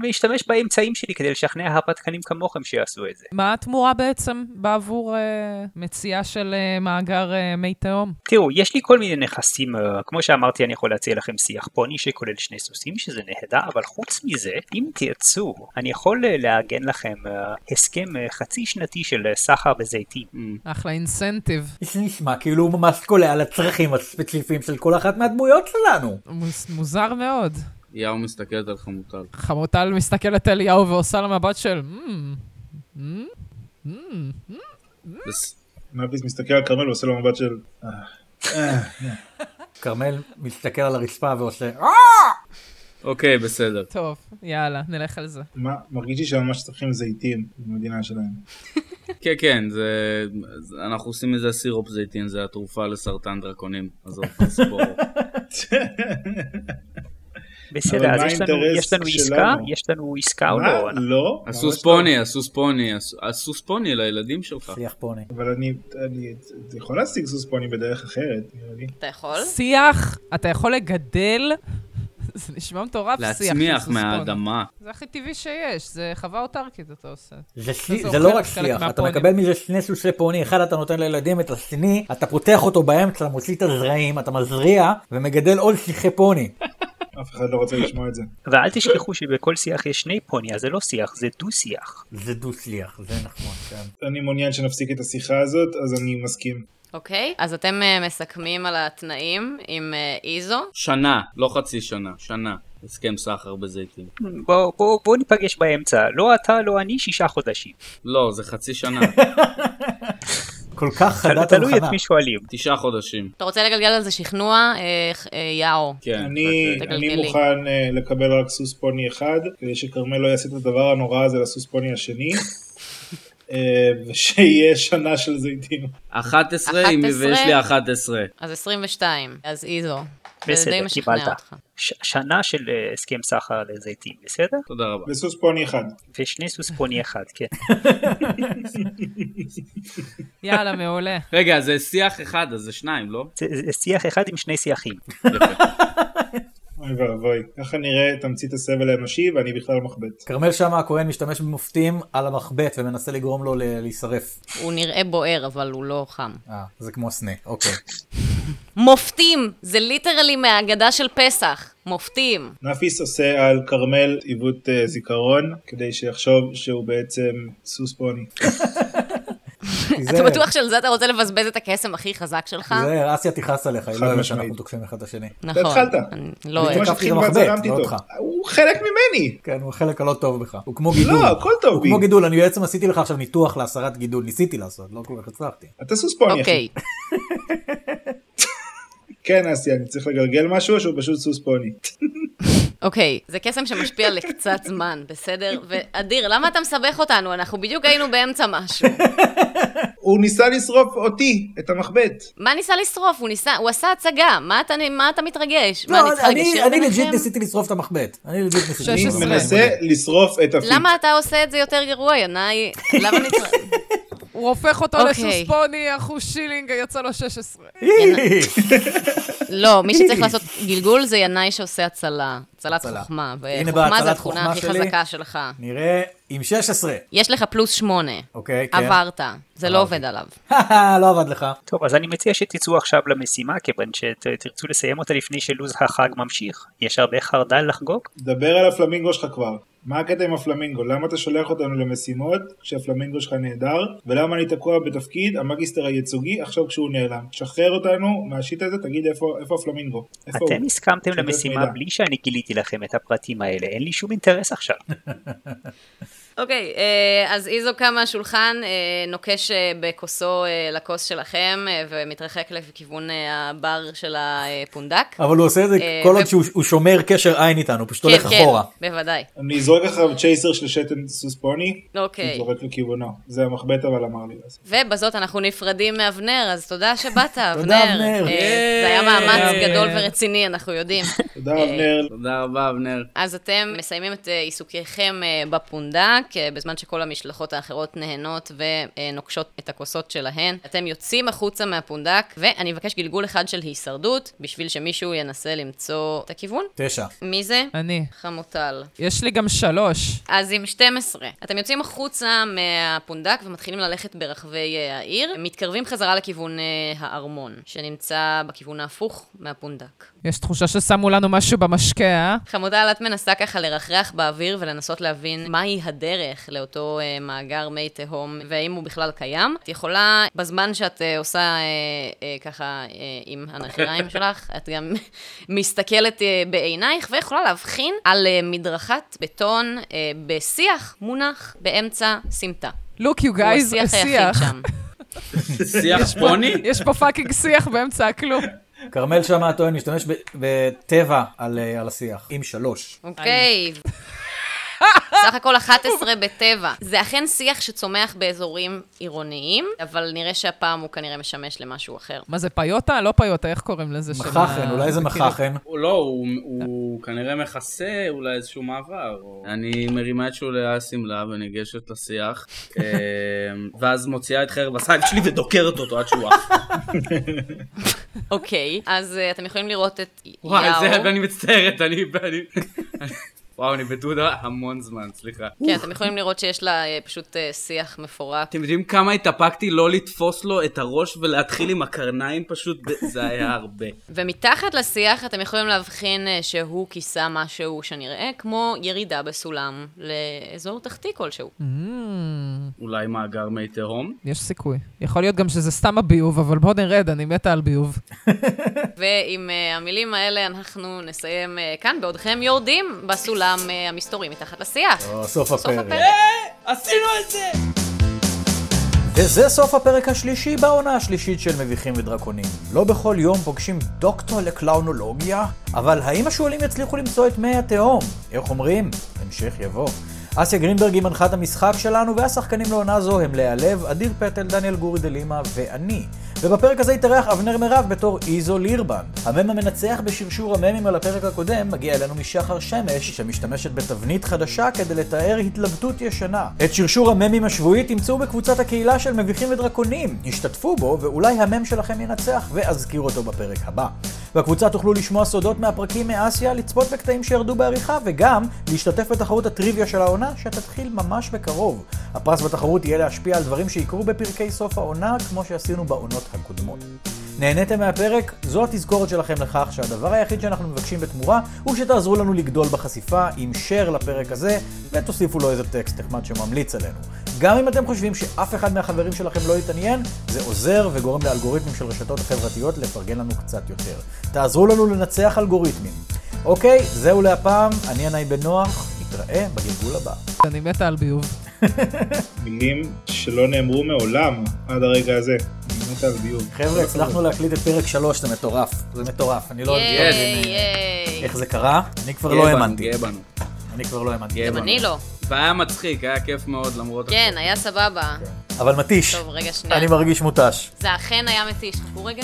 משתמש באמצעים שלי כדי לשכנע הרפתקנים כמוכם שיעשו את זה. מה התמורה בעצם בעבור אה, מציאה של אה, מאגר אה, מי תהום? תראו, יש לי כל מיני נכסים, אה, כמו שאמרתי, אני יכול להציע לכם שיח פוני שכולל שני סוסים, שזה נהדר, אבל חוץ מזה, אם תרצו, אני יכול אה, לעגן לכם אה, הסכם אה, חצי שנתי של אה, סחר בזיתים. Mm. אחלה אינסנטיב. זה נשמע כאילו הוא ממש קולע על הצרכים הספציפיים של כל אחת מהדמויות שלנו. מוז, מוזר מאוד. יאו מסתכלת על חמוטל. חמוטל מסתכלת על אליהו ועושה לה מבט של... "מ, מ, מ". בס- נאפיס מסתכל על כרמל ועושה לו מבט של... "אה, כרמל מסתכל על הרצפה ועושה, "אה!" אוקיי, בסדר. טוב, יאללה, נלך על זה. מה? מרגיש לי שממש צריכים זיתים במדינה שלהם. כן, כן, זה... זה- אנחנו עושים מזה סירופ זיתים, זה התרופה לסרטן דרקונים. עזוב, תסבור. אה, אבל בסדר, אז מה יש לנו, האינטרס יש לנו עסקה? שלנו? יש לנו עסקה או מה? לא? אנחנו- לא? הסוס ממש לא. פוני, הסוס פוני, הס- הסוס פוני לילדים שלך. שיח פוני. לא. אבל אני... אני אתה יכול להשיג סוס פוני בדרך אחרת, נראה לי. אתה יכול? שיח, אתה יכול לגדל, זה נשמע מטורף, שיח. של להצמיח סוספון. מהאדמה. זה הכי טבעי שיש, זה חווה אוטרקית אתה עושה. זה, שי, זה זה לא אוכל רק חלק שיח, אתה מהפוני. מקבל מזה שני סוסי פוני, אחד אתה נותן לילדים את השני, אתה פותח אותו באמצע, מוציא את הזרעים, אתה מזריע ומגדל עוד שיחי פוני. אף אחד לא רוצה לשמוע את זה. ואל תשכחו שבכל שיח יש שני פוניה, זה לא שיח, זה דו-שיח. זה דו-שיח, זה נכון, כן. אני מעוניין שנפסיק את השיחה הזאת, אז אני מסכים. אוקיי, אז אתם אה, מסכמים על התנאים עם אה, איזו. שנה, לא חצי שנה, שנה. הסכם סחר בזיתים. בואו בוא, בוא ניפגש באמצע, לא אתה, לא אני, שישה חודשים. לא, זה חצי שנה, כל כך חדת תלוי את הלחנה. מי שואלים. תשעה חודשים. אתה רוצה לגלגל על זה שכנוע? אה, אה, יאו. כן. אני, רק אני תגלגלי. מוכן אה, לקבל רק סוס פוני אחד, כדי שכרמל לא יעשה את הדבר הנורא הזה לסוס פוני השני, אה, ושיהיה שנה של זיתים. 11, אם- 11. ויש לי 11. אז 22, אז איזו. זה די בסדר, משכנע קיבלת. אותך. ש- שנה של אה, הסכם סחר לזיתים, בסדר? תודה רבה. וסוס פוני אחד. ושני סוס פוני אחד, כן. יאללה, מעולה. רגע, זה שיח אחד, אז זה שניים, לא? זה זה שיח אחד עם שני שיחים. אוי ואבוי. ככה נראה תמצית הסבל האנושי, ואני בכלל מחבט. כרמל שאמה הכהן משתמש במופתים על המחבט ומנסה לגרום לו ל- להישרף. הוא נראה בוער, אבל הוא לא חם. אה, זה כמו סנה, אוקיי. מופתים! זה ליטרלי מהאגדה של פסח. מופתים. נפיס עושה על כרמל עיוות אה, זיכרון, כדי שיחשוב שהוא בעצם סוס פוני. אתה בטוח שעל זה אתה רוצה לבזבז את הקסם הכי חזק שלך? זה, אסיה תכעס עליך, היא לא אוהבת משמעית. שאנחנו תוקפים אחד את השני. נכון. התחלת. אני לא אני אוהב. תקפתי את שכמעט המחבט, כאילו זרמתי לא איתו. אותך. הוא חלק ממני! כן, הוא החלק הלא טוב בך. הוא כמו גידול. לא, הכל טוב הוא בי. כמו גידול, אני בעצם עשיתי לך עכשיו ניתוח להסרת גידול. ניסיתי לעשות, לא כל כך הצלחתי. אתה סוס פוני, אחי. אוקיי. כן, אסי, אני צריך לגלגל משהו, או שהוא פשוט סוס פוני. אוקיי, זה קסם שמשפיע לקצת זמן, בסדר? ואדיר, למה אתה מסבך אותנו? אנחנו בדיוק היינו באמצע משהו. הוא ניסה לשרוף אותי, את המחבט. מה ניסה לשרוף? הוא ניסה, הוא עשה הצגה. מה אתה, מה אתה מתרגש? מה, אני לא, צריכה אני- לגשר אני לג'יט ביניכם? ניסיתי לשרוף את המחבט. אני לג'יט ניסיתי. אני לשרוף את המחבט. מנסה לשרוף את הפיק. למה אתה עושה את זה יותר גרוע, ינאי? למה אני צריך... הוא הופך אותו אוקיי. לסוס פוני, אחוז שילינג, יצא לו 16. לא, מי שצריך לעשות גלגול זה ינאי שעושה הצלה. הצלת הצלה. חוכמה. הנה וחוכמה בהצלת זו התכונה חוכמה הכי שלי. חזקה שלך. נראה עם 16. יש לך פלוס שמונה. אוקיי, כן. עברת. זה לא עובד עליו. לא עבד לך. טוב, אז אני מציע שתצאו עכשיו למשימה, כיוון שתרצו לסיים אותה לפני שלו"ז החג ממשיך. יש הרבה חרדל לחגוג? דבר על הפלמינגו שלך כבר. מה הקטע עם הפלמינגו? למה אתה שולח אותנו למשימות כשהפלמינגו שלך נהדר? ולמה אני תקוע בתפקיד המגיסטר הייצוגי עכשיו כשהוא נעלם? שחרר אותנו מהשיט הזה, תגיד איפה, איפה הפלמינגו? איפה הוא? אתם הסכמתם שתף למשימה מידע. בלי שאני גיליתי לכם את הפרטים האלה, אין לי שום אינטרס עכשיו. אוקיי, אה, אז איזו קם מהשולחן, אה, נוקש אה, בכוסו אה, לכוס שלכם, אה, ומתרחק לכיוון אה, הבר של הפונדק. אבל הוא עושה את זה אה, כל ו- עוד שהוא הוא שומר קשר עין איתנו, פשוט הולך אחורה. כן, בוודאי. אני אזרוק אחריו צ'ייסר של שתן סוס פוני, אוקיי. זורק לכיוונו. זה המחבט אבל אמר לי לעשות. ובזאת אנחנו נפרדים מאבנר, אז תודה שבאת, אבנר. אבנר. אה, זה היה מאמץ אבנר. גדול ורציני, אנחנו יודעים. תודה אה, אבנר. תודה רבה, אבנר. אז אתם מסיימים את אה, עיסוקיכם אה, בפונדק, אה, בזמן שכל המשלחות האחרות נהנות ונוקשות את הכוסות שלהן. אתם יוצאים החוצה מהפונדק, ואני אבקש גלגול אחד של הישרדות, בשביל שמישהו ינסה למצוא את הכיוון. תשע. מי זה? אני. חמוטל. יש לי גם שלוש. אז עם 12. אתם יוצאים החוצה מהפונדק ומתחילים ללכת ברחבי אה, העיר. מתקרבים חזרה לכיוון אה, הארמון, שנמצא בכיוון ההפוך מהפונדק. יש תחושה ששמו לנו משהו במשקה, אה? חמודה, את מנסה ככה לרחרח באוויר ולנסות להבין מהי הדרך לאותו אה, מאגר מי תהום, והאם הוא בכלל קיים. את יכולה, בזמן שאת אה, עושה אה, אה, ככה אה, עם הנחיריים שלך, את גם מסתכלת אה, בעינייך, ויכולה להבחין על אה, מדרכת בטון אה, בשיח מונח באמצע סמטה. Look you הוא guys, השיח היחיד שם. שיח פוני? יש פה פאקינג שיח באמצע הכלום. כרמל שאמה הטוען משתמש ב- בטבע על אה, על השיח, עם שלוש. אוקיי. סך הכל 11 בטבע. זה אכן שיח שצומח באזורים עירוניים, אבל נראה שהפעם הוא כנראה משמש למשהו אחר. מה זה, פיוטה? לא פיוטה, איך קוראים לזה? של ה- מחכן, אולי זה כאילו- מחכן. הוא לא, הוא- הוא כנראה מכסה אולי איזשהו מעבר. או- אני מרימה את שולי השמלה וניגשת לשיח, אה, ואז מוציאה את חרב הסייג שלי ודוקרת אותו עד שהוא עף. אוקיי, אז אה, אתם יכולים לראות את וואי, יאו. זה, ואני מצטערת, אני... אני- אני- וואו, אני בדודה המון זמן, סליחה. כן, אתם יכולים לראות שיש לה אה, פשוט אה, שיח מפורט. אתם יודעים כמה התאפקתי לא לתפוס לו את הראש ולהתחיל עם הקרניים פשוט? זה היה הרבה. ומתחת לשיח אתם יכולים להבחין אה, שהוא כיסה משהו שנראה כמו ירידה בסולם לאזור תחתי כלשהו. Mm, אולי מאגר מי תהום? יש סיכוי. יכול להיות גם שזה סתם הביוב, אבל בוא נרד, אני מתה על ביוב. ועם אה, המילים האלה אנחנו נסיים אה, כאן, בעודכם יורדים בסולם אה, המסתורי מתחת לשיח. או, סוף סוף הפרק. הפרק. עשינו את זה! וזה סוף הפרק השלישי בעונה השלישית של מביכים ודרקונים. לא בכל יום פוגשים דוקטור לקלאונולוגיה, אבל האם השועלים יצליחו למצוא את מי התהום? איך אומרים? המשך יבוא. אסיה גרינברג היא מנחת המשחק שלנו, והשחקנים לעונה זו הם לאה לב, אדיר פטל, דניאל גורי דלימה ואני. ובפרק הזה התארח אבנר מירב בתור איזו לירבן. המם המנצח בשרשור הממים על הפרק הקודם מגיע אלינו משחר שמש, שמשתמשת בתבנית חדשה כדי לתאר התלבטות ישנה. את שרשור הממים השבועי תמצאו בקבוצת הקהילה של מביכים ודרקונים. השתתפו בו, ואולי המם שלכם ינצח, ואזכיר אותו בפרק הבא. בקבוצה תוכלו לשמוע סודות מהפרקים מאסיה, לצפות בקטעים שירדו בעריכה, וגם להשתתף בתחרות הטריוויה של העונה, שתתחיל ממש בקרוב. הפרס בתחרות יהיה להשפיע על דברים שיקרו בפרקי סוף העונה, כמו שעשינו בעונות הקודמות. נהניתם מהפרק? זו התזכורת שלכם לכך שהדבר היחיד שאנחנו מבקשים בתמורה הוא שתעזרו לנו לגדול בחשיפה עם share לפרק הזה ותוסיפו לו איזה טקסט נחמד שממליץ עלינו. גם אם אתם חושבים שאף אחד מהחברים שלכם לא יתעניין, זה עוזר וגורם לאלגוריתמים של רשתות החברתיות לפרגן לנו קצת יותר. תעזרו לנו לנצח אלגוריתמים. אוקיי, זהו להפעם, אני ענאי בן נוח, נתראה בגלגול הבא. אני מתה על ביוב. מילים שלא נאמרו מעולם עד הרגע הזה. אני מת על ביוב. חבר'ה, הצלחנו להקליט את פרק 3, זה מטורף. זה מטורף, אני לא ייי, יודע ייי. איך זה קרה, אני כבר לא גאה בנו, האמנתי. גאה בנו. אני כבר לא האמנתי. גאה גם בנו. אני לא. והיה מצחיק, היה כיף מאוד למרות... כן, היה סבבה. אבל מתיש. טוב, רגע, שנייה. אני מרגיש מותש. זה אכן היה מתיש. חכו רגע.